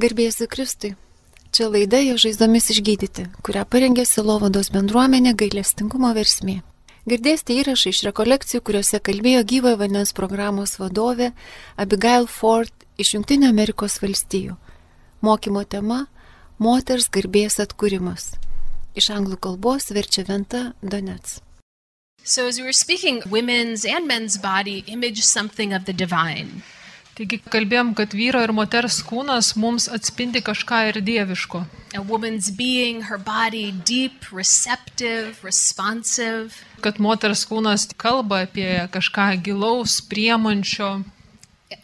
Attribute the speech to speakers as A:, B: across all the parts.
A: Garbėsiu Kristui. Čia laida jo žaizdomis išgydyti, kurią parengė Silovados bendruomenė gailestingumo versmė. Girdėsite įrašą iš rekolekcijų, kuriuose kalbėjo gyvojo vandens programos vadovė Abigail Ford iš Junktinio Amerikos valstijų. Mokymo tema - moters garbės atkūrimas. Iš anglų kalbos verčia Venta Donets.
B: So, as we were speaking, women's and men's body image something of the divine.
C: Taigi kalbėjom, kad vyro ir moters kūnas mums atspindi kažką ir dieviško.
B: A woman's being, her body, deep, receptive, responsive.
C: Kad moters kūnas kalba apie kažką gilaus, priemančio.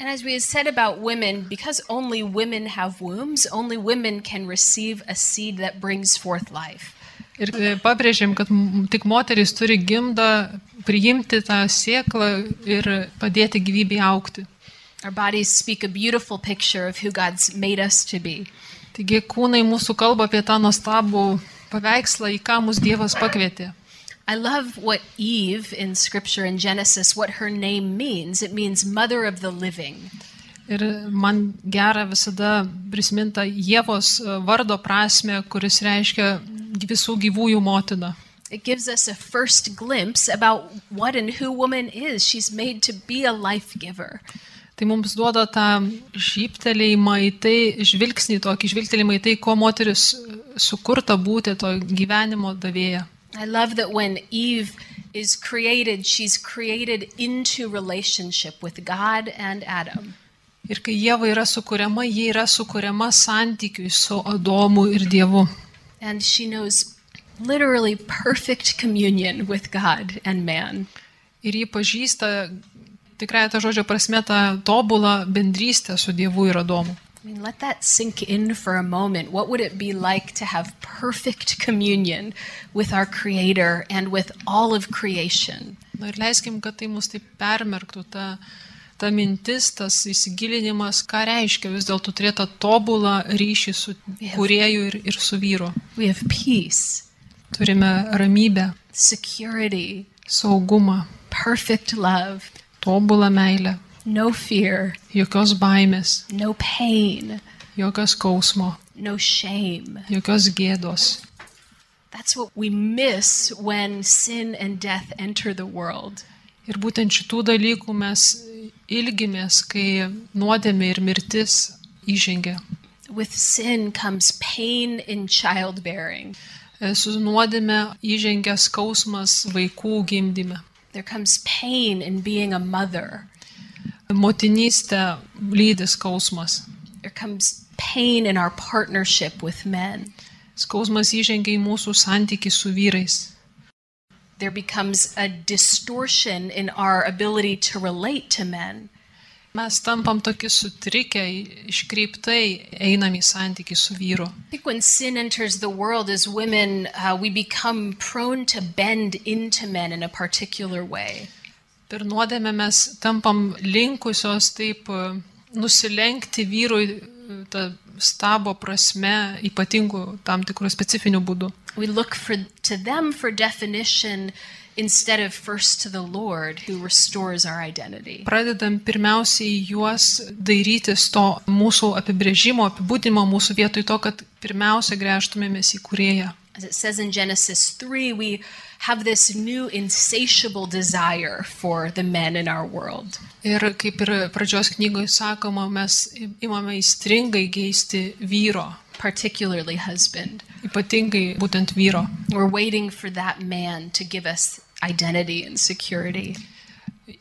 B: And as we had said about women, because only women have wombs, only women can receive a seed that brings forth life.
C: Ir e, pabrėžėm, kad m- tik moteris turi gimdą priimti tą sėklą ir padėti gyvybei aukti.
B: Our bodies speak a beautiful picture of who God's made us to be.
C: Taigi kūnai mūsų kalba apie tą nuostabų paveikslą, į ką mus Dievas pakvietė.
B: I love what Eve in scripture in Genesis, what her name means. It means mother of the living.
C: Ir man gera visada prisiminta Jėvos e, vardo prasme, kuris reiškia visų gyvųjų motina.
B: It gives us a first glimpse about what and who woman is. She's made to be a life giver.
C: Tai mums duoda tą žyptelėjimą į tai, žvilgsnį tokį, žvilgtelėjimą į tai, ko moteris e, sukurta būti to gyvenimo davėja.
B: I love that when Eve is created, she's created into relationship with God and Adam.
C: Ir kai Jėva yra sukūriama, ji yra sukūriama santykiui su Adomu ir Dievu.
B: And she knows literally perfect communion with God and man.
C: Ir ji pažįsta tikrai to žodžio prasme tą tobulą bendrystę su Dievu ir Adomu.
B: I mean, let that sink in for a moment. What would it be like to have perfect communion with our Creator and with all of creation?
C: Na ir leiskim, kad tai mus taip permerktų, ta, ta mintis, tas įsigilinimas, ką reiškia vis dėlto turėti tą tobulą ryšį su kurieju ir, ir su vyru.
B: We have peace,
C: Turime ramybę,
B: security,
C: saugumą,
B: perfect love,
C: tobulą meilę,
B: no fear,
C: jokios baimės,
B: no pain,
C: jokios skausmo,
B: no shame.
C: jokios gėdos.
B: That's what we miss when sin and death enter the world.
C: Ir būtent šitų dalykų mes ilgimės, kai nuodėmė ir mirtis įžengia.
B: With sin comes pain in childbearing.
C: E, Su nuodėmė įžengia skausmas vaikų gimdyme.
B: There comes pain in being a mother.
C: Motinystė lydi skausmas.
B: There comes pain in our partnership with men.
C: Skausmas įžengia į mūsų santykį su vyrais.
B: There becomes a distortion in our ability to relate to men.
C: Mes tampam tokie sutrikę, iškreiptai einam į santykį su vyru.
B: I think when sin enters the world as women, uh, we become prone to bend into men in a particular way.
C: Per nuodėmę mes tampam linkusios taip e, nusilenkti vyrui e, ta stabo prasme, ypatingų tam tikrų specifinių būdų.
B: We look for, to them for definition instead of first to the Lord who restores our identity.
C: Pradedam pirmiausiai juos dairytis to mūsų apibrėžimo, apibūdimo mūsų vietoj to, kad pirmiausia grėžtumėmės į kurėją.
B: As it says in Genesis 3, we have this new insatiable desire for the men in our world.
C: Ir kaip ir pradžios knygoje sakoma, mes imame įstringai geisti vyro,
B: particularly husband.
C: ypatingai būtent vyro.
B: We're waiting for that man to give us identity and security.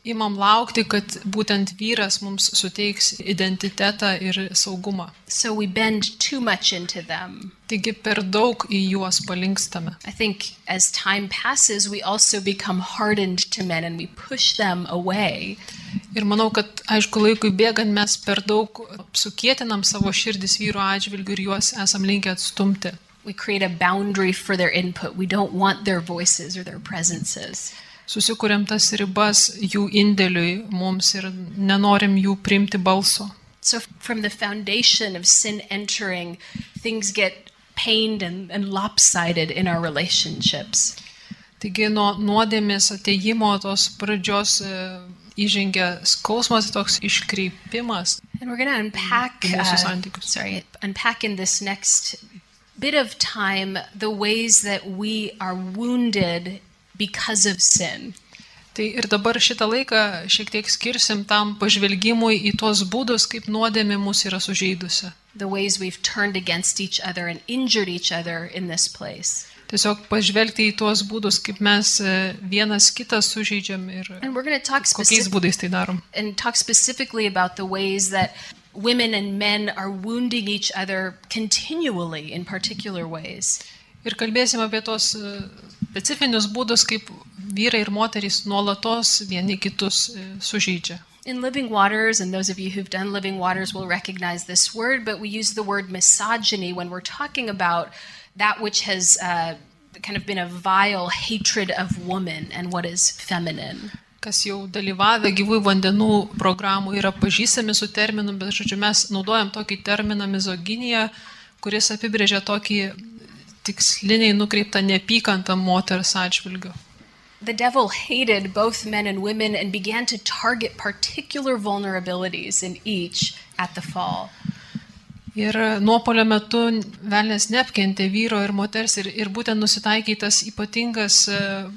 C: Imam laukti, kad būtent vyras mums suteiks identitetą ir saugumą.
B: So we bend too much into them.
C: Taigi per daug į juos palinkstame.
B: I think as time passes, we also become hardened to men and we push them away.
C: Ir manau, kad aišku, laikui bėgant mes per daug sukėtinam savo širdis vyro atžvilgių ir juos esam linkę atstumti.
B: We create a boundary for their input. We don't want their voices or their presences.
C: Susikūrėm tas ribas jų indėliui mums ir nenorim jų priimti balso.
B: So, from the foundation of sin entering, things get pained and, and lopsided in our relationships.
C: Taigi nuo nuodėmės ateimo tos pradžios e, įžengia skausmas, toks iškreipimas.
B: And we're going to unpack,
C: Emotional
B: uh,
C: scientific.
B: sorry, unpack in this next bit of time the ways that we are wounded because of sin.
C: Tai ir dabar šitą laiką šiek tiek skirsim tam pažvelgimui į tuos būdus, kaip nuodėmė mus yra sužeidusi.
B: the ways we've turned against each other and injured each other in this place.
C: Tiesiog pažvelgti į tuos būdus, kaip mes e, vienas kitą sužeidžiam ir
B: And we're going to talk
C: kokiais
B: specific-
C: būdais tai darom.
B: and talk specifically about the ways that women and men are wounding each other continually in particular ways.
C: Ir kalbėsim apie tos e, specifinius būdus, kaip vyrai ir moterys nuolatos vieni kitus e, sužeidžia.
B: In Living Waters, and those of you who've done Living Waters will recognize this word, but we use the word misogyny when we're talking about that which has uh, kind of been a vile hatred of woman and what is feminine.
C: kas jau dalyvavę gyvųjų vandenų programų yra pažįstami su terminu, bet žodžiu, mes naudojam tokį terminą mizoginija, kuris apibrėžia tokį tiksliniai nukreiptą neapykantą moters atžvilgių.
B: The devil hated both men and women and began to target particular vulnerabilities in each at the fall.
C: Ir nuopolio metu velnės neapkentė vyro ir moters ir, ir būtent nusitaikė į tas ypatingas e,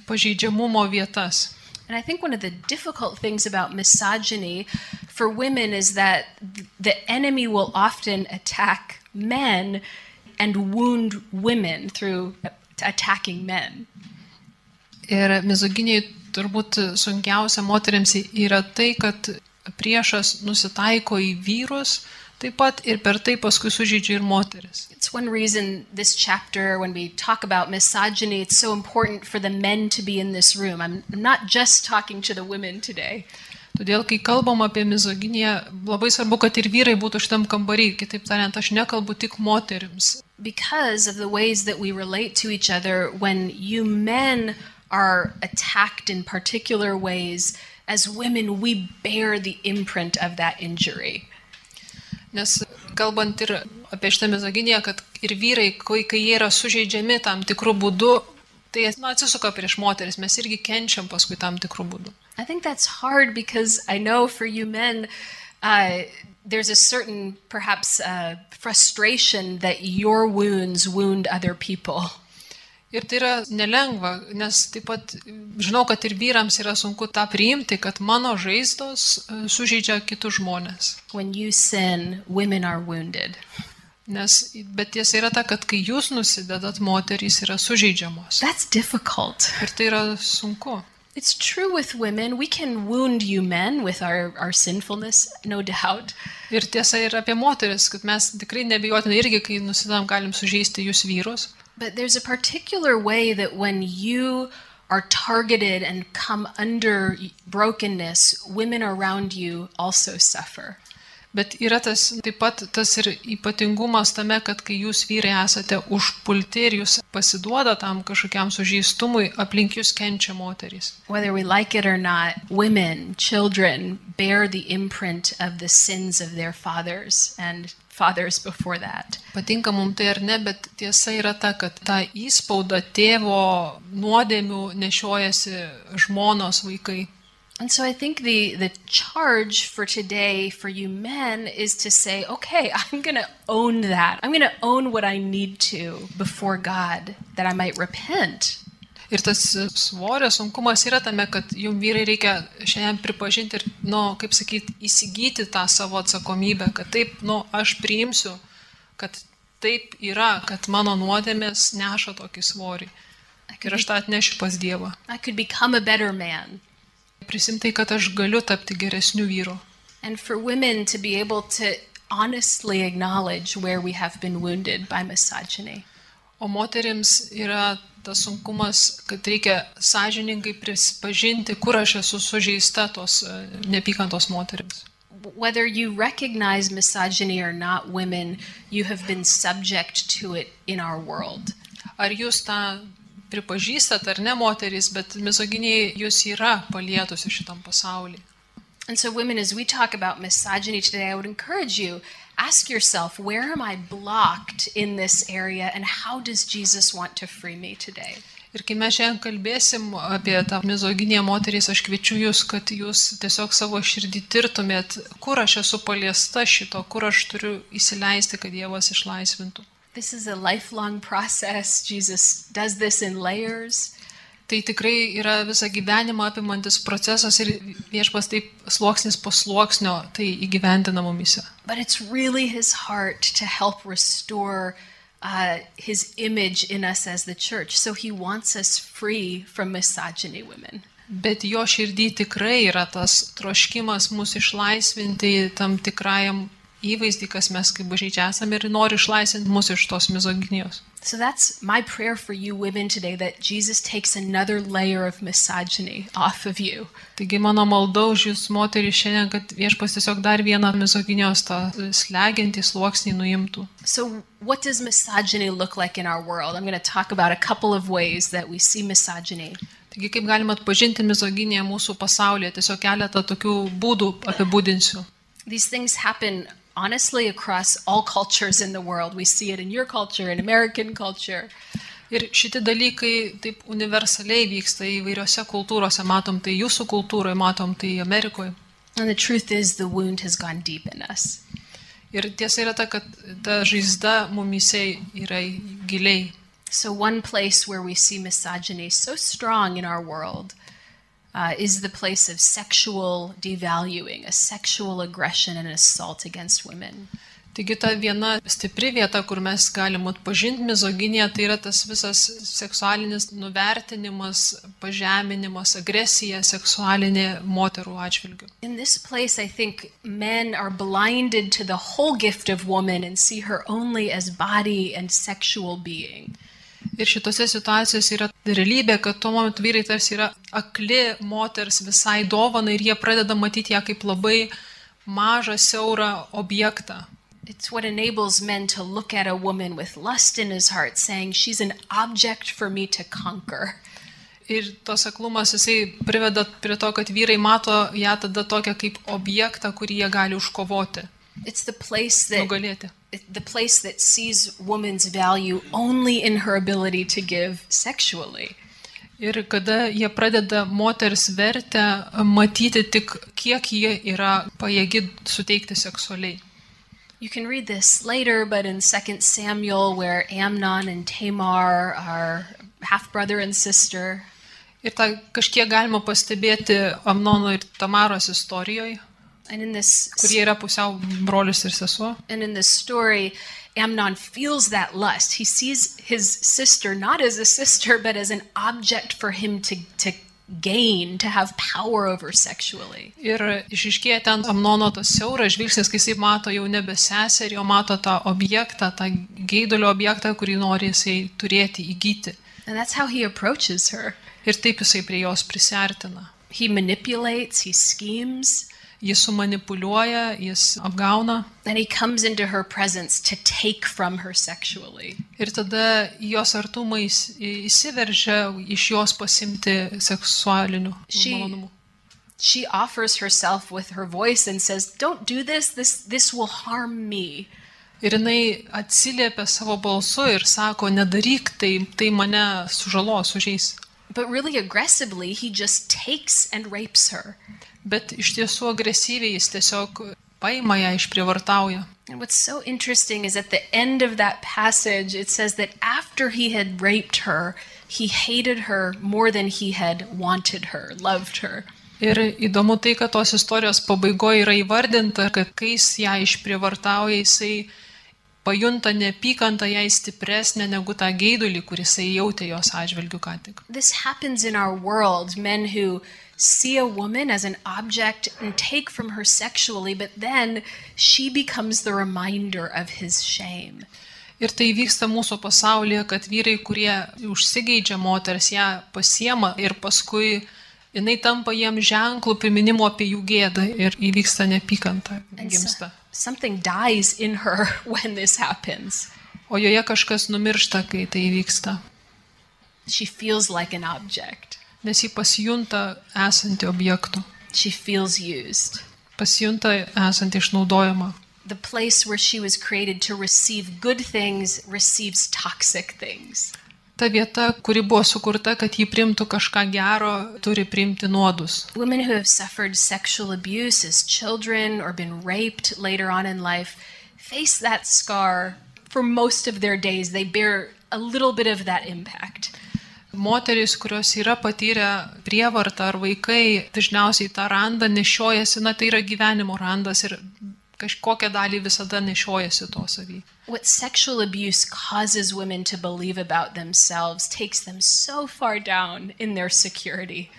C: pažeidžiamumo vietas.
B: And I think one of the difficult things about misogyny for women is that th- the enemy will often attack men and wound women through a- attacking men.
C: Ir mizoginiai turbūt sunkiausia moteriams yra tai, kad priešas nusitaiko į vyrus taip pat ir per tai paskui sužydžia ir moteris.
B: It's one reason this chapter, when we talk about misogyny, it's so important for the men to be in this room. I'm I'm not just talking to the women today.
C: Todėl, kai kalbam apie mizoginiją, labai svarbu, kad ir vyrai būtų šitam kambarį. Kitaip tariant, aš nekalbu tik moteriams.
B: because of the ways that we relate to each other when you men are attacked in particular ways as women we bear the imprint of that injury
C: Nes kalbant ir apie šitą mizoginiją, kad ir vyrai, kai, kai jie yra sužeidžiami tam tikrų būdų, tai na, atsisuka prieš moteris. Mes irgi kenčiam paskui tam tikrų būdų.
B: i think that's hard because i know for you men uh, there's a certain perhaps uh, frustration that your wounds wound other people
C: Ir tai yra nelengva, nes taip pat žinau, kad ir vyrams yra sunku tą priimti, kad mano žaizdos e, sužeidžia kitus žmonės.
B: when you sin women are wounded
C: Nes, bet tiesa yra ta, kad kai jūs nusidedat, moterys yra sužeidžiamos.
B: that's difficult
C: Ir tai yra sunku.
B: It's true with women. We can wound you men with our, our sinfulness, no doubt.
C: Ir tiesa ir apie moteris, kad mes tikrai nebijotinai irgi, kai nusidedam, galim sužeisti jūs vyrus.
B: But there's a particular way that when you are targeted and come under brokenness, women around you also suffer.
C: Bet yra tas taip pat tas ir ypatingumas tame, kad kai jūs vyrai esate užpulti ir jūs pasiduoda tam kažkokiam sužeistumui, aplink jūs kenčia moterys.
B: Whether we like it or not, women, children bear the imprint of the sins of their fathers and fathers before that.
C: Patinka mums tai ar ne, bet tiesa yra ta, kad tą įspaudą tėvo nuodėmių nešiojasi žmonos vaikai.
B: And so I think the the charge for today for you men is to say, okay, I'm going to own that. I'm going to own what I need to before God that I might repent.
C: Ir tas svorio sunkumas yra tame, kad jums vyrai reikia šiandien pripažinti ir, na, nu, kaip sakyti, įsigyti tą savo atsakomybę, kad taip, na, nu, aš priimsiu, kad taip yra, kad mano nuodėmės neša tokį svorį. Ir aš tą atnešiu pas Dievą.
B: I could become a better man.
C: Prisimtai, kad aš galiu tapti geresniu vyru.
B: And for women to be able to honestly acknowledge where we have been wounded by misogyny.
C: O moteriams yra tas sunkumas, kad reikia sąžiningai prisipažinti, kur aš esu sužeista tos e, neapykantos moteriams.
B: Whether you recognize misogyny or not, women, you have been subject to it in our world.
C: Ar jūs tą pripažįstat ar ne moterys, bet mizoginiai jūs yra palietusi šitam pasaulyje.
B: And so, women, as we talk about misogyny today, I would encourage you ask yourself, where am I blocked in this area, and how does Jesus want to free me today?
C: Ir kai mes šiandien kalbėsim apie tą mizoginiją moterys, aš kviečiu jūs, kad jūs tiesiog savo širdį tirtumėt, kur aš esu paliesta šito, kur aš turiu įsileisti, kad Dievas išlaisvintų.
B: This is a lifelong process. Jesus does this in layers.
C: Tai tikrai yra visą gyvenimą apimantis procesas ir viešpas taip sluoksnis po sluoksnio tai įgyvendina mumise.
B: But it's really his heart to help restore uh, his image in us as the church. So he wants us free from misogyny women.
C: Bet jo širdį tikrai yra tas troškimas mus išlaisvinti tam tikrajam įvaizdį, kas mes kaip bažnyčia esame ir nori išlaisvinti mus iš tos mizoginijos.
B: So that's my prayer for you women today that Jesus takes another layer of misogyny off of you.
C: Taigi mano malda už jūs moterį šiandien, kad viešpas tiesiog dar vieną mizoginijos tą slegiantį sluoksnį nuimtų.
B: So, what does misogyny look like in our world? I'm going to talk about a couple of ways that we see misogyny.
C: Taigi kaip galima atpažinti mizoginiją mūsų pasaulyje, tiesiog keletą tokių būdų apibūdinsiu.
B: These things happen honestly across all cultures in the world. We see it in your culture, in American culture.
C: Ir šitie dalykai taip universaliai vyksta įvairiose kultūrose, matom tai jūsų kultūroje, matom tai Amerikoje.
B: And the truth is, the wound has gone deep in us.
C: Ir tiesa yra ta, kad ta žaizda mumise yra giliai.
B: So, one place where we see misogyny so strong in our world uh, is the place of sexual devaluing, a sexual aggression and assault against women.
C: Taigi ta viena stipri vieta, kur mes galim atpažinti mizoginiją, tai yra tas visas seksualinis nuvertinimas, pažeminimas, agresija seksualinė moterų atžvilgių.
B: In this place, I think men are blinded to the whole gift of woman and see her only as body and sexual being.
C: Ir šitose situacijose yra realybė, kad tuo momentu vyrai tarsi yra akli moters visai dovana ir jie pradeda matyti ją kaip labai mažą, siaurą objektą.
B: It's what enables men to look at a woman with lust in his heart, saying, She's an object for me to conquer.
C: Ir tos aklumas jisai priveda prie to, kad vyrai mato ją tada tokią kaip objektą, kurį jie gali užkovoti,
B: It's the place that
C: nugalėti.
B: the place that sees woman's value only in her ability to give sexually.
C: Ir kada jie pradeda moters vertę matyti tik, kiek jie yra pajėgi suteikti seksualiai.
B: You can read this later, but in 2 Samuel, where Amnon and Tamar are half brother and sister,
C: Ir tą kažkiek galima pastebėti Amnono ir Tamaros istorijoje,
B: and in this
C: kurie yra pusiau brolius ir sesuo.
B: and in this story, Amnon feels that lust. He sees his sister not as a sister, but as an object for him to to gain, to have power over sexually.
C: Ir išiškėja ten Amnono tas siauras žvilgsnis, kai jisai mato jau nebe seserį, o mato tą objektą, tą geidulio objektą, kurį nori jisai turėti, įgyti.
B: And that's how he approaches her.
C: Ir taip jisai prie jos prisartina.
B: He manipulates, he schemes,
C: Jis sumanipuliuoja, jis apgauna
B: and he comes into her presence to take from her sexually.
C: ir tada į jos artumą įs- įsiveržia iš jos pasimti seksualinių
B: Šį-
C: malonumų.
B: She offers herself with her voice and says, "Don't do this. This this will harm me."
C: Ir jinai atsiliepia savo balsu ir sako, nedaryk tai, tai mane sužalos, sužeis.
B: But really aggressively, he just takes and rapes her.
C: Bet iš tiesų agresyviai jis tiesiog paima ją išprievartauja.
B: And what's so interesting is at the end of that passage, it says that after he had raped her, he hated her more than he had wanted her, loved her.
C: Ir įdomu tai, kad tos istorijos pabaigoje yra įvardinta, kad kai jis ją išprievartauja, jisai pajunta neapykantą jai stipresnę negu tą geidulį, kuris jisai jautė jos atžvilgių ką tik.
B: This happens in our world men who see a woman as an object and take from her sexually, but then she becomes the reminder of his shame.
C: Ir tai vyksta mūsų pasaulyje, kad vyrai, kurie užsigeidžia moters, ją pasiema ir paskui jinai tampa jiem ženklų priminimu apie jų gėdą ir įvyksta neapykanta,
B: And so-
C: gimsta.
B: something dies in her when this happens.
C: O joje kažkas numiršta, kai tai įvyksta,
B: She feels like an object,
C: nes ji pasijunta esanti objektu,
B: she feels used.
C: pasijunta esanti išnaudojama.
B: the place where she was created to receive good things receives toxic things.
C: ta vieta, kuri buvo sukurta, kad jį primtų kažką gero, turi primti nuodus.
B: Women who have suffered sexual abuse as children or been raped later on in life face that scar for most of their days. They bear a little bit of that impact.
C: Moterys, kurios yra patyrę prievartą ar vaikai, dažniausiai tą randą nešiojasi, na tai yra gyvenimo randas ir kažkokią dalį visada nešiojasi to savy.
B: What sexual abuse causes women to believe about themselves takes them so far down in their security.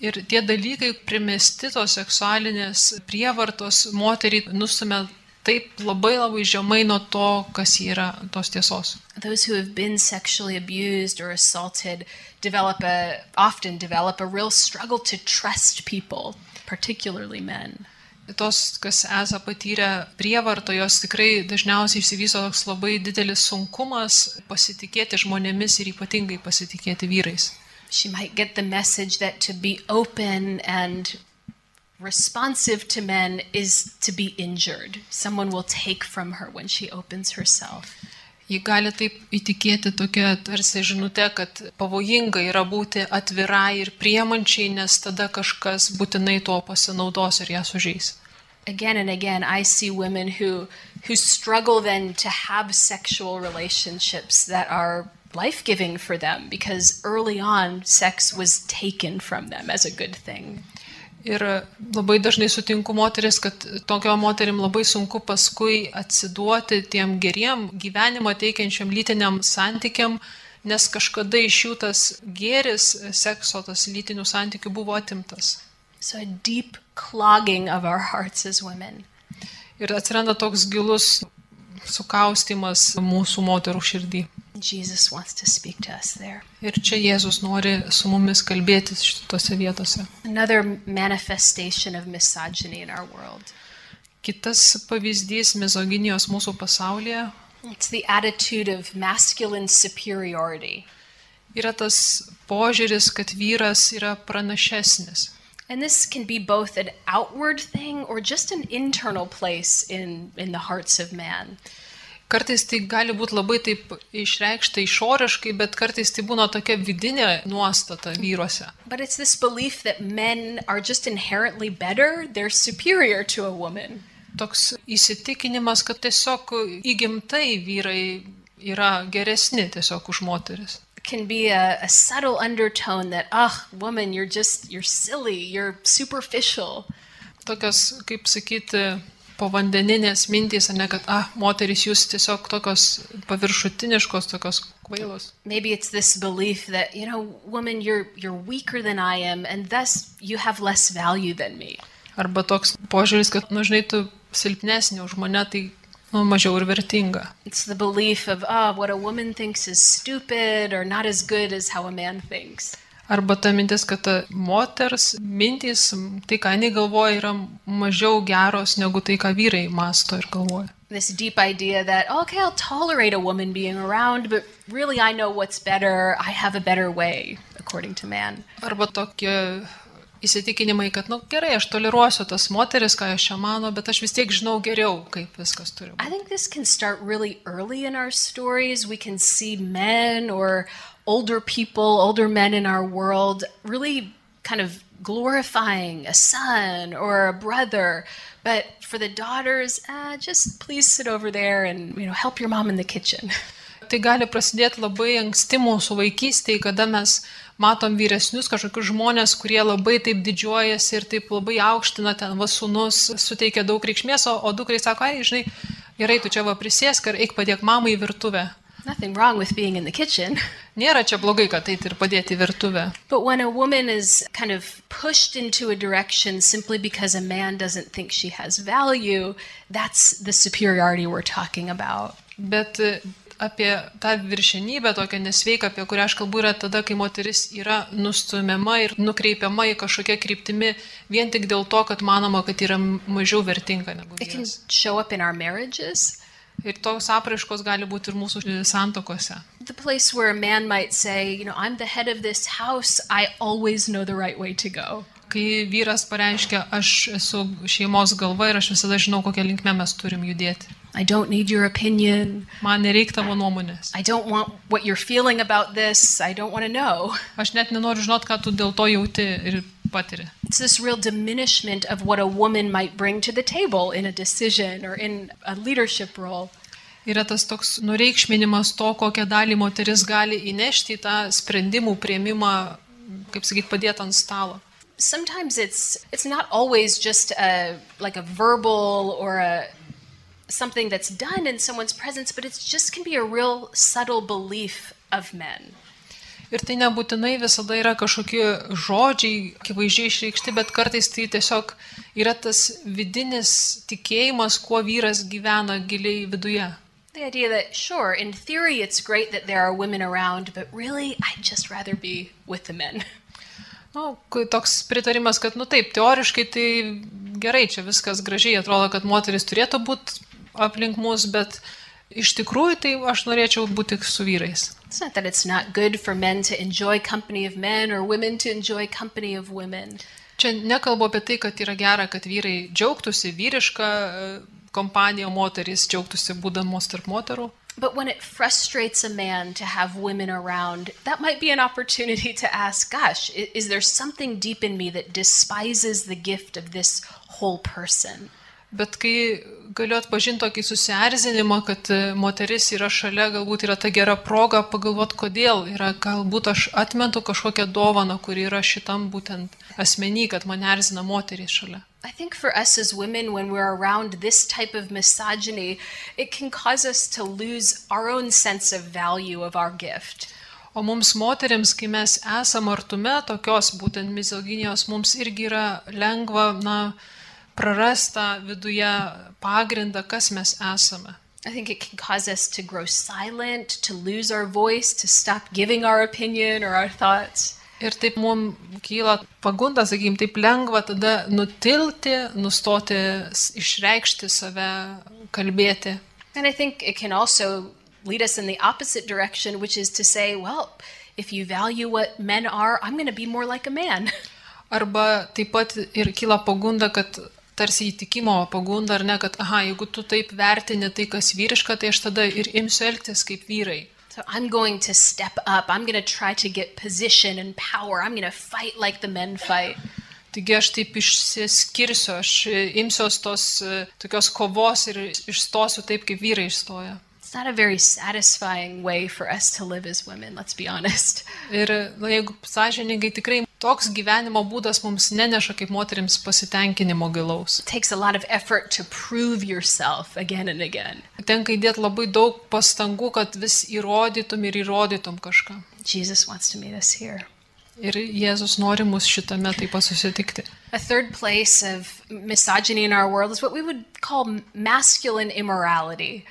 C: Ir tie dalykai primesti tos seksualinės prievartos moterį nustumia taip labai labai žemai nuo to, kas ji yra tos tiesos.
B: Those who have been sexually abused or assaulted develop a, often develop a real struggle to trust people, particularly men.
C: Tos, kas esą patyrę prievartą, jos tikrai dažniausiai išsivysto toks labai didelis sunkumas pasitikėti žmonėmis ir ypatingai pasitikėti vyrais.
B: She might get the message that to be open and responsive to men is to be injured. Someone will take from her when she opens herself.
C: Ji gali taip įtikėti tokia tarsi žinutė, kad pavojinga yra būti atvirai ir priemančiai, nes tada kažkas būtinai tuo pasinaudos ir ją sužeis.
B: Again and again, I see women who, who struggle then to have sexual relationships that are life giving for them because early on, sex was taken from them as a good thing.
C: Ir labai dažnai sutinku moteris, kad tokio moterim labai sunku paskui atsiduoti tiem geriem gyvenimo teikiančiam lytiniam santykiam, nes kažkada iš jų tas gėris, sekso, tas lytinių santykių buvo atimtas.
B: So, a deep clogging of our hearts as women.
C: Ir atsiranda toks gilus sukaustimas mūsų moterų širdį.
B: Jesus wants to speak to us there.
C: Ir čia Jėzus nori su mumis kalbėtis šitose vietose.
B: Another manifestation of misogyny in our world.
C: Kitas pavyzdys mizoginijos mūsų pasaulyje
B: It's the attitude of masculine superiority.
C: yra tas požiūris, kad vyras yra pranašesnis.
B: And this can be both an outward thing or just an internal place in, in the hearts of man.
C: Kartais tai gali būti labai taip išreikšta išoriškai, bet kartais tai būna tokia vidinė nuostata vyruose.
B: But it's this belief that men are just inherently better, they're superior to a woman.
C: Toks įsitikinimas, kad tiesiog įgimtai vyrai yra geresni tiesiog už moteris.
B: It can be a, a subtle undertone that, ugh, woman, you're just, you're silly, you're superficial.
C: Tokios, kaip sakyti, povandeninės mintys, ne kad, ah, moteris jūs tiesiog tokios paviršutiniškos, tokios kvailos.
B: Maybe it's this belief that, you know, woman, you're, you're weaker than I am, and thus you have less value than me.
C: Arba toks požiūris, kad, nu, žinai, tu silpnesnė už mane, tai nu, mažiau ir vertinga.
B: It's the belief of, ah, what a woman thinks is stupid or not as good as how a man thinks.
C: Arba ta mintis, kad ta moters mintys, tai ką jinai galvoja, yra mažiau geros negu tai, ką vyrai masto ir galvoja.
B: This deep idea that, okay, I'll tolerate a woman being around, but really I know what's better. I have a better way, according to man.
C: Arba tokie įsitikinimai, kad, nu gerai, aš toleruosiu tas moteris, ką jos čia mano, bet aš vis tiek žinau geriau, kaip viskas turi būti.
B: I think this can start really early in our stories. We can see men or older people, older men in our world, really kind of glorifying a son or a brother. But for the daughters, uh, just please sit over there and you know help your mom in the kitchen.
C: Tai gali prasidėti labai anksti mūsų vaikystėje, kada mes matom vyresnius kažkokius žmonės, kurie labai taip didžiuojasi ir taip labai aukština ten vasunus, suteikia daug reikšmės, o, o dukrai sako, ai, žinai, gerai, tu čia va prisėsk ir eik padėk mamai į virtuvę.
B: Nothing wrong with being in the kitchen.
C: Nėra čia blogai, kad tai ir padėti į virtuvę.
B: But when a woman is kind of pushed into a direction simply because a man doesn't think she has value, that's the superiority we're talking about.
C: Bet e, apie tą viršenybę tokią nesveiką, apie kurią aš kalbu, yra tada, kai moteris yra nustumiama ir nukreipiama į kažkokią kryptimį vien tik dėl to, kad manoma, kad yra mažiau vertinga negu
B: It can
C: vyras.
B: show up in our marriages,
C: Ir toks apraiškos gali būti ir mūsų santokose.
B: the place where a man might say, you know, I'm the head of this house, I always know the right way to go.
C: Kai vyras pareiškia, aš esu šeimos galva ir aš visada žinau, kokią linkmę mes turim judėti.
B: I don't need your opinion.
C: Man nereik tavo nuomonės.
B: I don't want what you're feeling about this. I don't want to know.
C: Aš net nenoriu žinot, ką tu dėl to jauti ir patiri.
B: It's this real diminishment of what a woman might bring to the table in a decision or in a leadership role.
C: Yra tas toks nureikšminimas to, kokią dalį moteris gali įnešti į tą sprendimų prieimimą, kaip sakyti, padėti ant stalo.
B: Sometimes it's it's not always just a like a verbal or a something that's done in someone's presence, but it just can be a real subtle belief of men.
C: Ir tai nebūtinai visada yra kažkokie žodžiai, akivaizdžiai išreikšti, bet kartais tai tiesiog yra tas vidinis tikėjimas, kuo vyras gyvena giliai viduje.
B: The idea that sure, in theory it's great that there are women around, but really I'd just rather be with the men.
C: Nu, kai toks pritarimas, kad, nu taip, teoriškai tai gerai, čia viskas gražiai atrodo, kad moteris turėtų būti aplink mus, bet iš tikrųjų tai aš norėčiau būti tik su vyrais.
B: It's not that it's not good for men to enjoy company of men or women to enjoy company of women.
C: Čia nekalbu apie tai, kad yra gera, kad vyrai džiaugtųsi vyrišką e, kompaniją, o moterys džiaugtųsi būdamos tarp moterų.
B: But when it frustrates a man to have women around, that might be an opportunity to ask, gosh, i- is there something deep in me that despises the gift of this whole person?
C: Bet kai galiu atpažinti tokį susierzinimą, kad e, moteris yra šalia, galbūt yra ta gera proga pagalvoti, kodėl yra, galbūt aš atmetu kažkokią dovaną, kuri yra šitam būtent asmenį, kad mane erzina moteris šalia.
B: I think for us as women, when we're around this type of misogyny, it can cause us to lose our own sense of value of our gift.
C: O mums moteriams, kai mes esame artume tokios būtent mizoginijos, mums irgi yra lengva, na, prarasta viduje pagrindą, kas mes esame.
B: I think it can cause us to grow silent, to lose our voice, to stop giving our opinion or our thoughts.
C: Ir taip mums kyla pagunda, sakykim, taip lengva tada nutilti, nustoti s- išreikšti save, kalbėti.
B: And I think it can also lead us in the opposite direction, which is to say, well, if you value what men are, I'm going to be more like a man.
C: Arba taip pat ir kyla pagunda, kad tarsi įtikimo pagunda, ar ne, kad, aha, jeigu tu taip vertini tai, kas vyriška, tai aš tada ir imsiu elgtis kaip vyrai.
B: So I'm going to step up. I'm going to try to get position and power. I'm going to fight like the men fight.
C: Taigi aš taip išsiskirsiu, aš e, imsiuos tos e, tokios kovos ir išstosiu taip, kaip vyrai išstoja.
B: It's not a very satisfying way for us to live as women, let's be honest.
C: Ir na, jeigu sąžiningai tikrai toks gyvenimo būdas mums neneša kaip moteriams pasitenkinimo gilaus.
B: It takes a lot of effort to prove yourself again and again.
C: Tenka įdėti labai daug pastangų, kad vis įrodytum ir įrodytum kažką.
B: Jesus wants to meet us here.
C: Ir Jėzus nori mus šitame taip pat susitikti.
B: A third place of misogyny in our world is what we would call masculine immorality.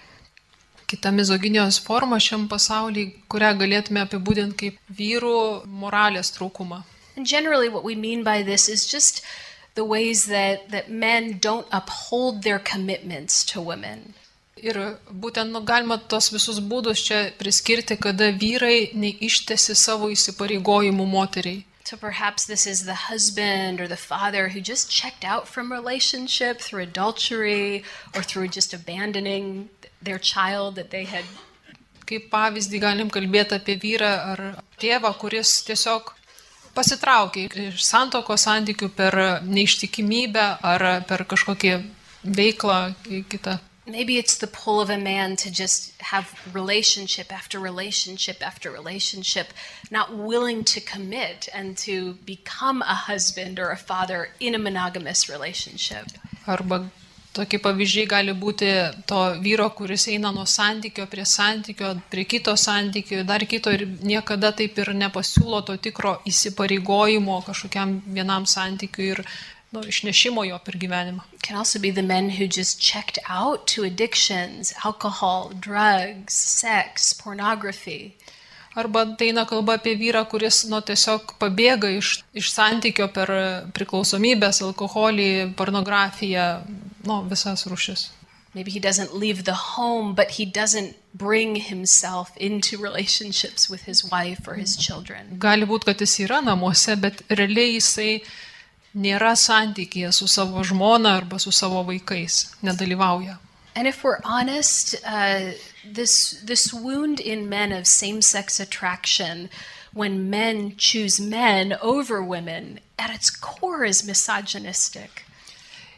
C: Kita mizoginijos forma šiam pasaulyje, kurią galėtume apibūdinti kaip vyrų moralės trūkumą.
B: And generally, what we mean by this is just the ways that, that men don't uphold their commitments to women.
C: Ir būtent nu, galima tos visus būdus čia priskirti, kada vyrai neištesi savo įsipareigojimų moteriai.
B: So perhaps this is the husband or the father who just checked out from relationship through adultery or through just abandoning their child that they had.
C: Kaip pavyzdį galim kalbėti apie vyrą ar tėvą, kuris tiesiog pasitraukė iš santoko santykių per neištikimybę ar per kažkokį veiklą į kitą.
B: Maybe it's the pull of a man to just have relationship after relationship after relationship, not willing to commit and to become a husband or a father in a monogamous relationship.
C: Arba tokie pavyzdžiai gali būti to vyro, kuris eina nuo santykio prie santykio, prie kito santykio, dar kito ir niekada taip ir nepasiūlo to tikro įsipareigojimo kažkokiam vienam santykiui ir nu, išnešimo jo per gyvenimą.
B: It can also be the men who just checked out to addictions, alcohol, drugs, sex, pornography.
C: Arba tai eina kalba apie vyrą, kuris nu, tiesiog pabėga iš, iš santykio per priklausomybės, alkoholį, pornografiją, nu, visas rušis.
B: Maybe he doesn't leave the home, but he doesn't bring himself into relationships with his wife or his children.
C: Gali būti, kad jis yra namuose, bet realiai jisai nėra santykėje su savo žmona arba su savo vaikais, nedalyvauja.
B: And if we're honest, uh, this this wound in men of same-sex attraction, when men choose men over women, at its core is misogynistic.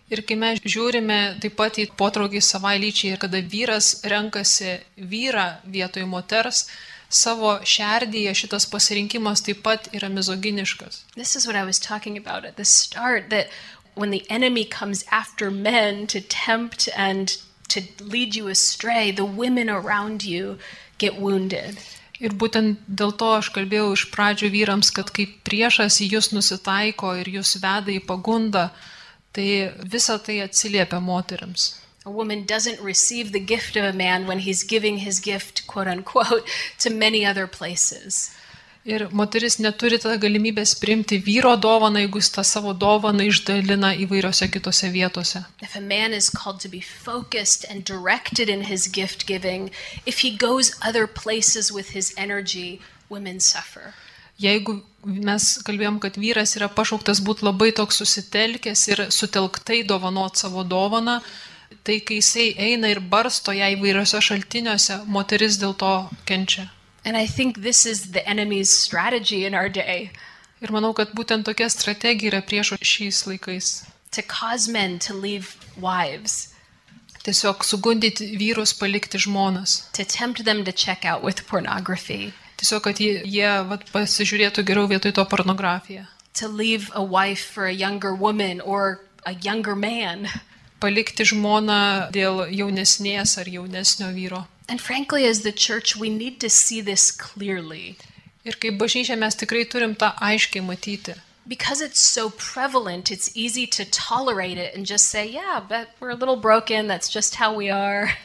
C: Ir kai mes žiūrime taip pat į potraukį savai lyčiai, ir kada vyras renkasi vyrą vietoj moters, savo šerdyje šitas pasirinkimas taip pat yra mizoginiškas.
B: This is what I was talking about at the start that when the enemy comes after men to tempt and to lead you astray, the women around you get wounded.
C: Ir būtent dėl to aš kalbėjau iš pradžių vyrams, kad kai priešas į jūs nusitaiko ir jūs veda į pagundą, tai visa tai atsiliepia moteriams.
B: A woman doesn't receive the gift of a man when he's giving his gift, quote unquote, to many other places.
C: Ir moteris neturi tada galimybės priimti vyro dovaną, jeigu jis tą savo dovaną išdalina įvairiose kitose vietose.
B: If a man is called to be focused and directed in his gift giving, if he goes other places with his energy, women suffer.
C: Jeigu mes kalbėjom, kad vyras yra pašauktas būti labai toks susitelkęs ir sutelktai dovanot savo dovaną, tai kai jisai eina ir barsto ją įvairiose šaltiniuose, moteris dėl to kenčia.
B: And I think this is the enemy's strategy in our day
C: Ir manau, kad būtent tokia strategija yra priešo šiais laikais.
B: to cause men to leave wives,
C: Tiesiog sugundyti vyrus palikti žmonas.
B: to tempt them to check out with pornography,
C: Tiesiog, kad jie, jie vat, pasižiūrėtų geriau vietoj to pornografiją.
B: to leave a wife for a younger woman or a younger man.
C: Palikti žmoną dėl jaunesnės ar jaunesnio vyro.
B: And frankly, as the church, we need to see this clearly
C: Ir kaip bažnyčia mes tikrai turim tą aiškiai matyti.
B: because it's so prevalent, it's easy to tolerate it and just say, yeah, but we're a little broken. That's just how we are.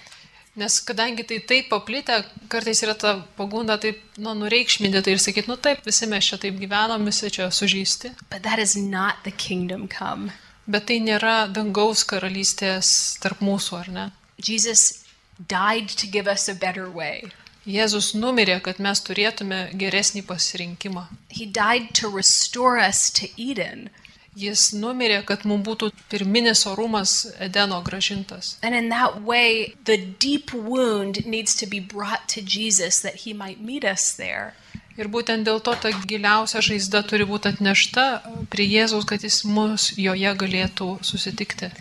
C: Nes kadangi tai taip paplitę, kartais yra ta pagunda taip, nu, nureikšminti tai ir sakyti, nu taip, visi mes čia taip gyvenom, visi čia sužysti.
B: But that is not the kingdom come.
C: Bet tai nėra dangaus karalystės tarp mūsų, ar ne?
B: Jesus died to give us a better way.
C: Jėzus numirė, kad mes turėtume geresnį pasirinkimą.
B: He died to restore us to Eden.
C: Jis numirė, kad mums būtų pirminis orumas Edeno gražintas.
B: And in that way, the deep wound needs to be brought to Jesus that he might meet us there.
C: Ir būtent dėl to ta giliausia žaizda turi būti atnešta prie Jėzaus, kad jis mus joje galėtų susitikti.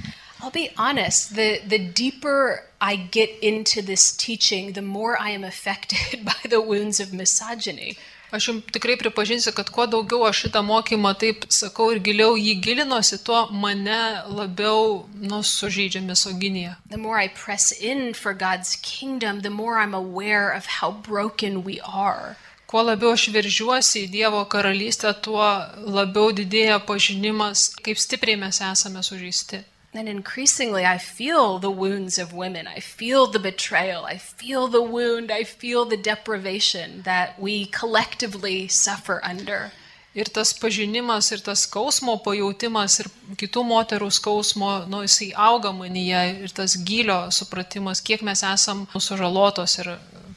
B: I'll be honest, the, the deeper I get into this teaching, the more I am affected by the wounds of misogyny.
C: Aš jums tikrai pripažinsiu, kad kuo daugiau aš šitą mokymą taip sakau ir giliau jį gilinosi, tuo mane labiau nu, nusužydžia misoginija.
B: The more I press in for God's kingdom, the more I'm aware of how broken we are.
C: Kuo labiau aš veržiuosi į Dievo karalystę, tuo labiau didėja pažinimas, kaip stipriai mes esame sužysti.
B: And increasingly, I feel the wounds of women. I feel the betrayal. I feel the wound. I feel the deprivation that we collectively suffer under.
C: Ir tas pažinimas, ir tas skausmo pajautimas, ir kitų moterų skausmo, nu, jisai auga manyje, ir tas gilio supratimas, kiek mes esam sužalotos ir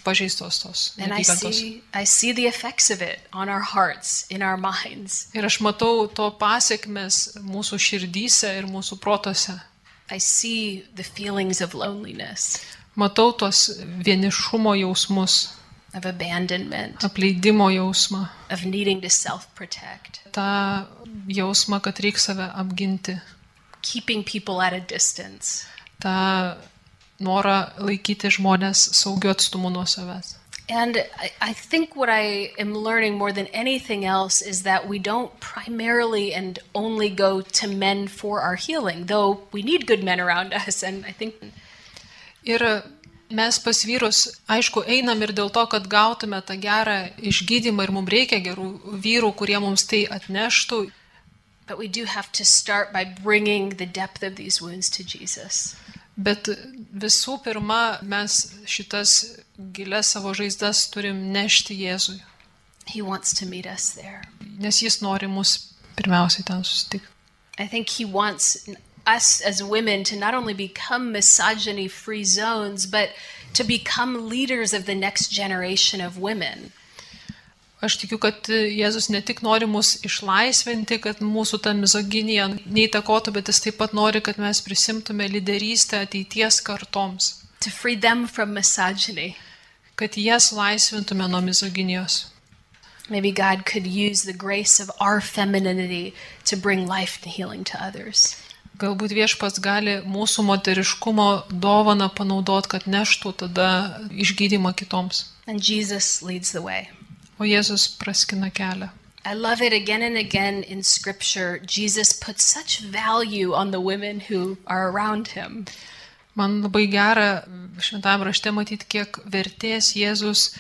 C: pažeistos tos.
B: And I
C: neapykantos.
B: see, I see the effects of it on our hearts, in our minds.
C: Ir aš matau to pasiekmes mūsų širdyse ir mūsų protose.
B: I see the feelings of loneliness,
C: Matau tos vienišumo jausmus,
B: of abandonment,
C: Oh. apleidimo jausmą,
B: of needing to self protect,
C: tą jausmą, kad reikia save apginti,
B: keeping people at a distance.
C: tą norą laikyti žmonės saugiu atstumu nuo savęs.
B: And I, I think what I am learning more than anything else is that we don't primarily and only go to men for our healing, though we need good men around us. And I think
C: Ir mes pas vyrus, aišku, einam ir dėl to, kad gautume tą gerą išgydymą ir mums reikia gerų vyrų, kurie mums tai atneštų.
B: But we do have to start by bringing the depth of these wounds to Jesus.
C: Bet visų pirma, mes šitas gilias savo žaizdas turim nešti Jėzui,
B: He wants to meet us there.
C: nes Jis nori mus pirmiausiai ten susitikti.
B: I think He wants us as women to not only become misogyny free zones, but to become leaders of the next generation of women.
C: Aš tikiu, kad Jėzus ne tik nori mus išlaisvinti, kad mūsų ta mizoginija neįtakotų, bet jis taip pat nori, kad mes prisimtume lyderystę ateities kartoms,
B: to free them from misogyny.
C: kad jas laisvintume nuo mizoginijos.
B: Maybe God could use the grace of our femininity to bring life and healing to others.
C: Galbūt viešpas gali mūsų moteriškumo dovaną panaudot, kad neštų tada išgydymą kitoms.
B: And Jesus leads the way.
C: O Jėzus praskina kelią.
B: I love it again and again in scripture. Jesus puts such value on the women who are around him.
C: Man labai gera šventame rašte matyti, kiek vertės Jėzus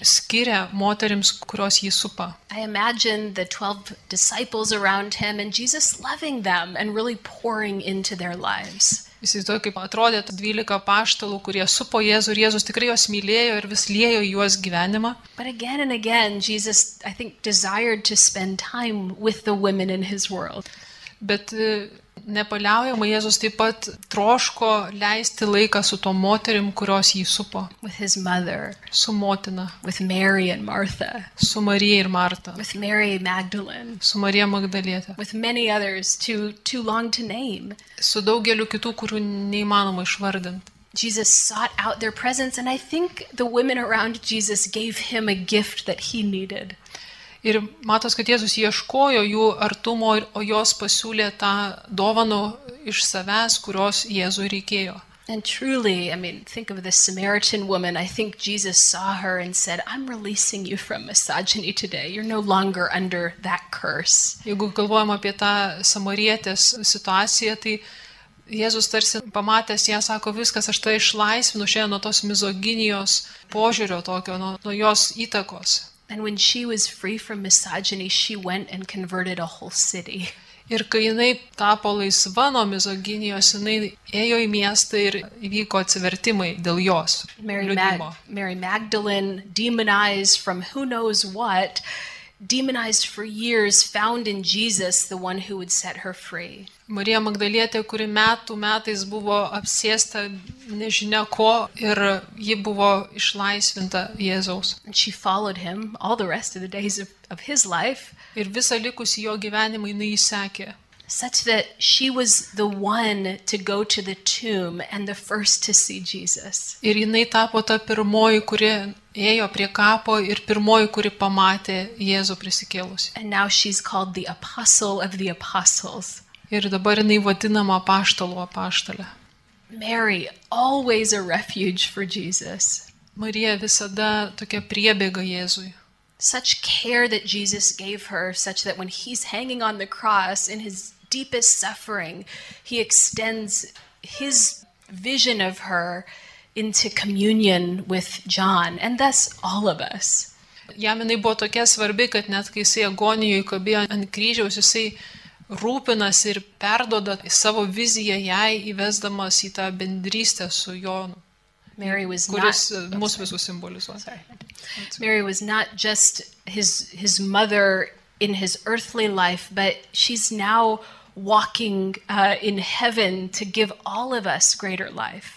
C: skiria moterims, kurios jį supa.
B: I imagine the 12 disciples around him and Jesus loving them and really pouring into their lives.
C: Įsivaizduoju, kaip atrodė tų 12 paštalų, kurie supo Jėzų ir Jėzus tikrai juos mylėjo ir vis lėjo į juos gyvenimą.
B: But again and again, Jesus, I think, desired to spend time with the women in his world.
C: Bet e, nepaliaujamai Jėzus taip pat troško leisti laiką su tom moterim, kurios jį supo.
B: with his mother,
C: Su motina,
B: with Mary and Martha,
C: su Marija ir Marta,
B: with Mary Magdalene,
C: su Marija Magdalietė,
B: with many others too too long to name.
C: su daugeliu kitų, kurių neįmanoma išvardinti.
B: Jesus sought out their presence and I think the women around Jesus gave him a gift that he needed.
C: Ir matos, kad Jėzus ieškojo jų artumo, ir- o jos pasiūlė tą dovaną iš savęs, kurios Jėzui reikėjo.
B: And truly, I mean, think of the Samaritan woman. I think Jesus saw her and said, "I'm releasing you from misogyny today. You're no longer under that curse."
C: Jeigu galvojam apie tą samarietės situaciją, tai Jėzus tarsi pamatęs ją, sako, viskas, aš tai išlaisvinu šiandien nuo tos mizoginijos požiūrio tokio, nuo, nuo jos įtakos.
B: And when she was free from misogyny, she went and converted a whole city.
C: Ir kai jinai tapo laisva nuo mizoginijos, jinai ėjo į miestą ir įvyko atsivertimai dėl jos.
B: Mary,
C: liudijimo.
B: Mag- Mary Magdalene, demonized from who knows what, demonized for years, found in Jesus the one who would set her free.
C: Marija Magdalietė, kuri metų metais buvo apsėsta nežinia ko ir ji buvo išlaisvinta Jėzaus.
B: And she followed him all the rest of the days of, of his life,
C: Ir visą likusį jo gyvenimą jinai įsekė.
B: such that she was the one to go to the tomb and the first to see Jesus.
C: Ir jinai tapo ta pirmoji, kuri ėjo prie kapo ir pirmoji, kuri pamatė Jėzų prisikėlusi.
B: And now she's called the apostle of the apostles.
C: Ir dabar jinai vadinama paštalo paštalė.
B: Mary, always a refuge for Jesus.
C: Marija visada tokia priebėga Jėzui.
B: such care that Jesus gave her, such that when he's hanging on the cross in his deepest suffering, he extends his vision of her into communion with John and thus all of us.
C: Jam jinai buvo tokia svarbi, kad net kai jisai agonijoje kabėjo ant kryžiaus, jisai rūpinasi ir perdoda savo viziją jai įvesdamas į tą bendrystę su Jonu,
B: Mary was
C: kuris
B: not
C: eh, mus visus simbolizuoja.
B: sorry. Mary was not just his his mother in his earthly life, but she's now walking uh, in heaven to give all of us greater life.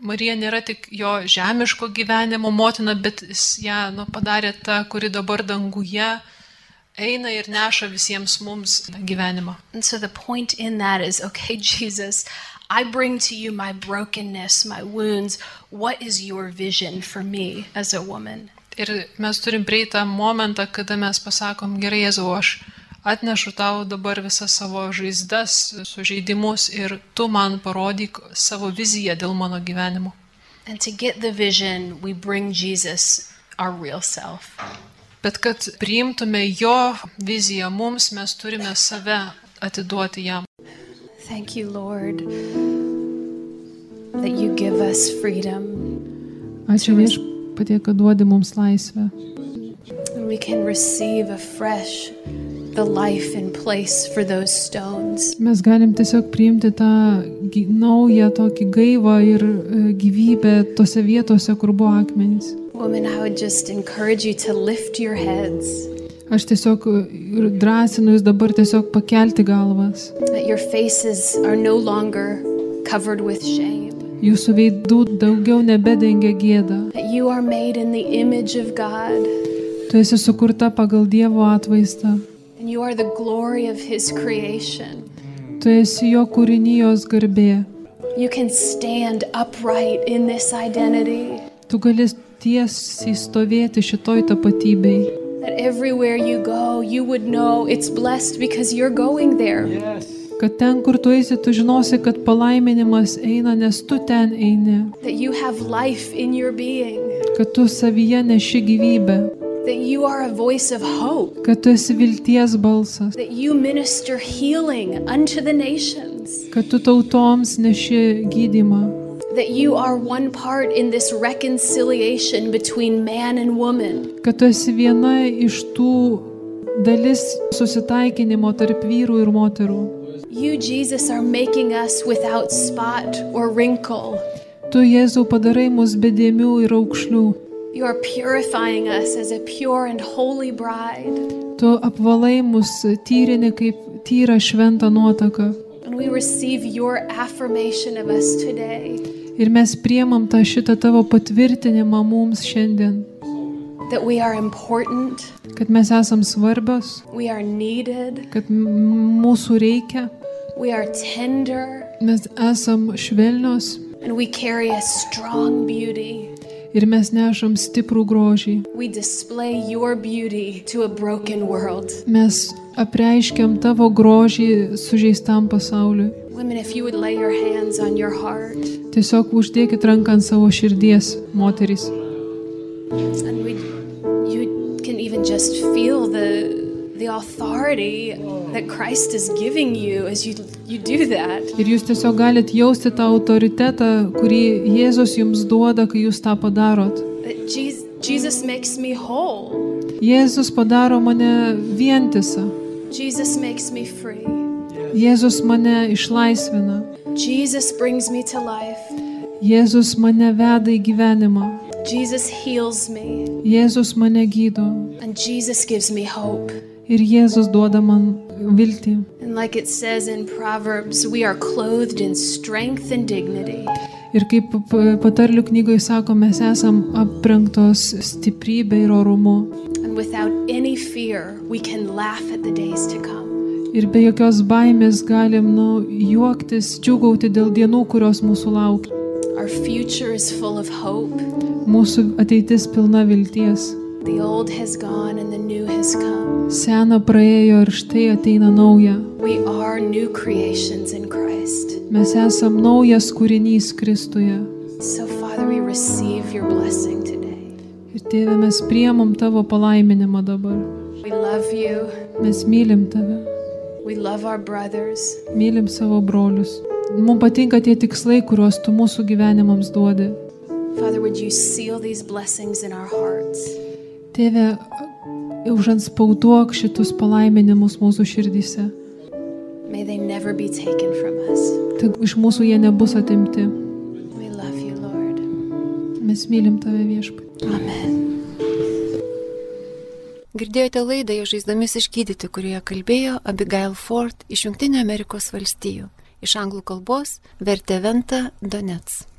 C: Marija nėra tik jo žemiško gyvenimo motina, bet jis ją nu, padarė tą, kuri dabar danguje eina ir neša visiems mums gyvenimą.
B: And so the point in that is okay, Jesus, I bring to you my brokenness, my wounds. What is your vision for me as a woman?
C: Ir mes turim prieiti tą momentą, kada mes pasakom, gerai, Jėzau, aš atnešu tau dabar visas savo žaizdas, sužeidimus ir tu man parodyk savo viziją dėl mano gyvenimo.
B: And to get the vision, we bring Jesus our real self.
C: Bet kad priimtume jo viziją mums, mes turime save atiduoti jam.
B: Thank you, Lord, that you give us freedom
C: Ačiū vieš, patie, kad duodi mums laisvę.
B: and we can receive afresh the life and place for those stones.
C: Mes galim tiesiog priimti tą naują tokį gaivą ir e, gyvybę tose vietose, kur buvo akmenys.
B: Woman, I would just encourage you to lift your heads.
C: Aš tiesiog e, ir drąsinu jūs dabar tiesiog pakelti galvas.
B: that your faces are no longer covered with shame,
C: Jūsų veidų daugiau nebedengia gėda,
B: that you are made in the image of God,
C: Tu esi sukurta pagal Dievo atvaizdą.
B: and you are the glory of His creation.
C: Tu esi jo kūrinijos garbė.
B: You can stand upright in this identity,
C: Tu gali tiesiai stovėti šitoj tapatybei.
B: that everywhere you go, you would know it's blessed because you're going there.
C: Kad ten, kur tu eisi, tu žinosi, kad palaiminimas eina, nes tu ten eini.
B: That you have life in your being,
C: Kad tu savyje neši gyvybę.
B: that you are a voice of hope,
C: Kad tu esi vilties balsas.
B: that you minister healing unto the nations,
C: Kad tu tautoms neši gydimą.
B: that you are one part in this reconciliation between man and woman,
C: Kad tu esi viena iš tų dalis susitaikinimo tarp vyrų ir moterų.
B: you, Jesus, are making us without spot or wrinkle.
C: Tu, Jėzau, padarai mus bedėmių ir aukšlių.
B: You are purifying us as a pure and holy bride,
C: Tu apvalai mus tyrini kaip tyra šventą nuotaką.
B: and we receive your affirmation of us today
C: Ir mes priemam tą šitą tavo patvirtinimą mums šiandien,
B: that we are important,
C: kad mes esam svarbios,
B: we are needed,
C: kad m- mūsų reikia,
B: we are tender,
C: mes esam švelnios
B: and we carry a strong beauty.
C: ir mes nešam stiprų grožį.
B: We display your beauty to a broken world.
C: Mes apreiškiam tavo grožį sužeistam pasauliui.
B: Women, if you would lay your hands on your heart,
C: Tiesiog uždėkit ranką ant savo širdies, moterys.
B: and we, you can even just feel the the authority that Christ is giving you as you you do that.
C: Ir jūs tiesiog galite jausti tą autoritetą, kurį Jėzus jums duoda, kai jūs tą padarot.
B: that Jesus, Jesus makes me whole.
C: Jėzus padaro mane vientisą.
B: Jesus makes me free.
C: Jėzus mane išlaisvina.
B: Jesus brings me to life.
C: Jėzus mane veda į gyvenimą.
B: Jesus heals me.
C: Jėzus mane gydo.
B: And Jesus gives me hope.
C: Ir Jėzus duoda man viltį.
B: And like it says in Proverbs, we are clothed in strength and dignity.
C: Ir kaip p- patarlių knygoje sako, mes esam aprengtos stiprybė ir orumu.
B: And without any fear, we can laugh at the days to come.
C: Ir be jokios baimės galim nu, juoktis, džiugauti dėl dienų, kurios mūsų laukia.
B: Our future is full of hope.
C: Mūsų ateitis pilna vilties.
B: The old has gone and the new has come.
C: Sena praėjo ir štai ateina nauja.
B: We are new creations in Christ.
C: Mes esam naujas kūrinys Kristuje.
B: So, Father, we receive your blessing today.
C: Ir tėve, mes priemam tavo palaiminimą dabar.
B: We love you.
C: Mes mylim tave,
B: We love our brothers.
C: mylim savo brolius. Mums patinka tie tikslai, kuriuos tu mūsų gyvenimams duodi.
B: Father, would you seal these blessings in our hearts?
C: Tėve, užanspauduok šitus palaiminimus mūsų širdyse.
B: May they never be taken from us.
C: Tik iš mūsų jie nebus atimti.
B: We love you, Lord.
C: Mes mylim tave viešpai.
B: Amen.
A: Girdėjote laidą Jo žaizdomis išgydyti, kurioje kalbėjo Abigail Ford iš Junktinio Amerikos valstijų. Iš anglų kalbos vertė Venta Donets.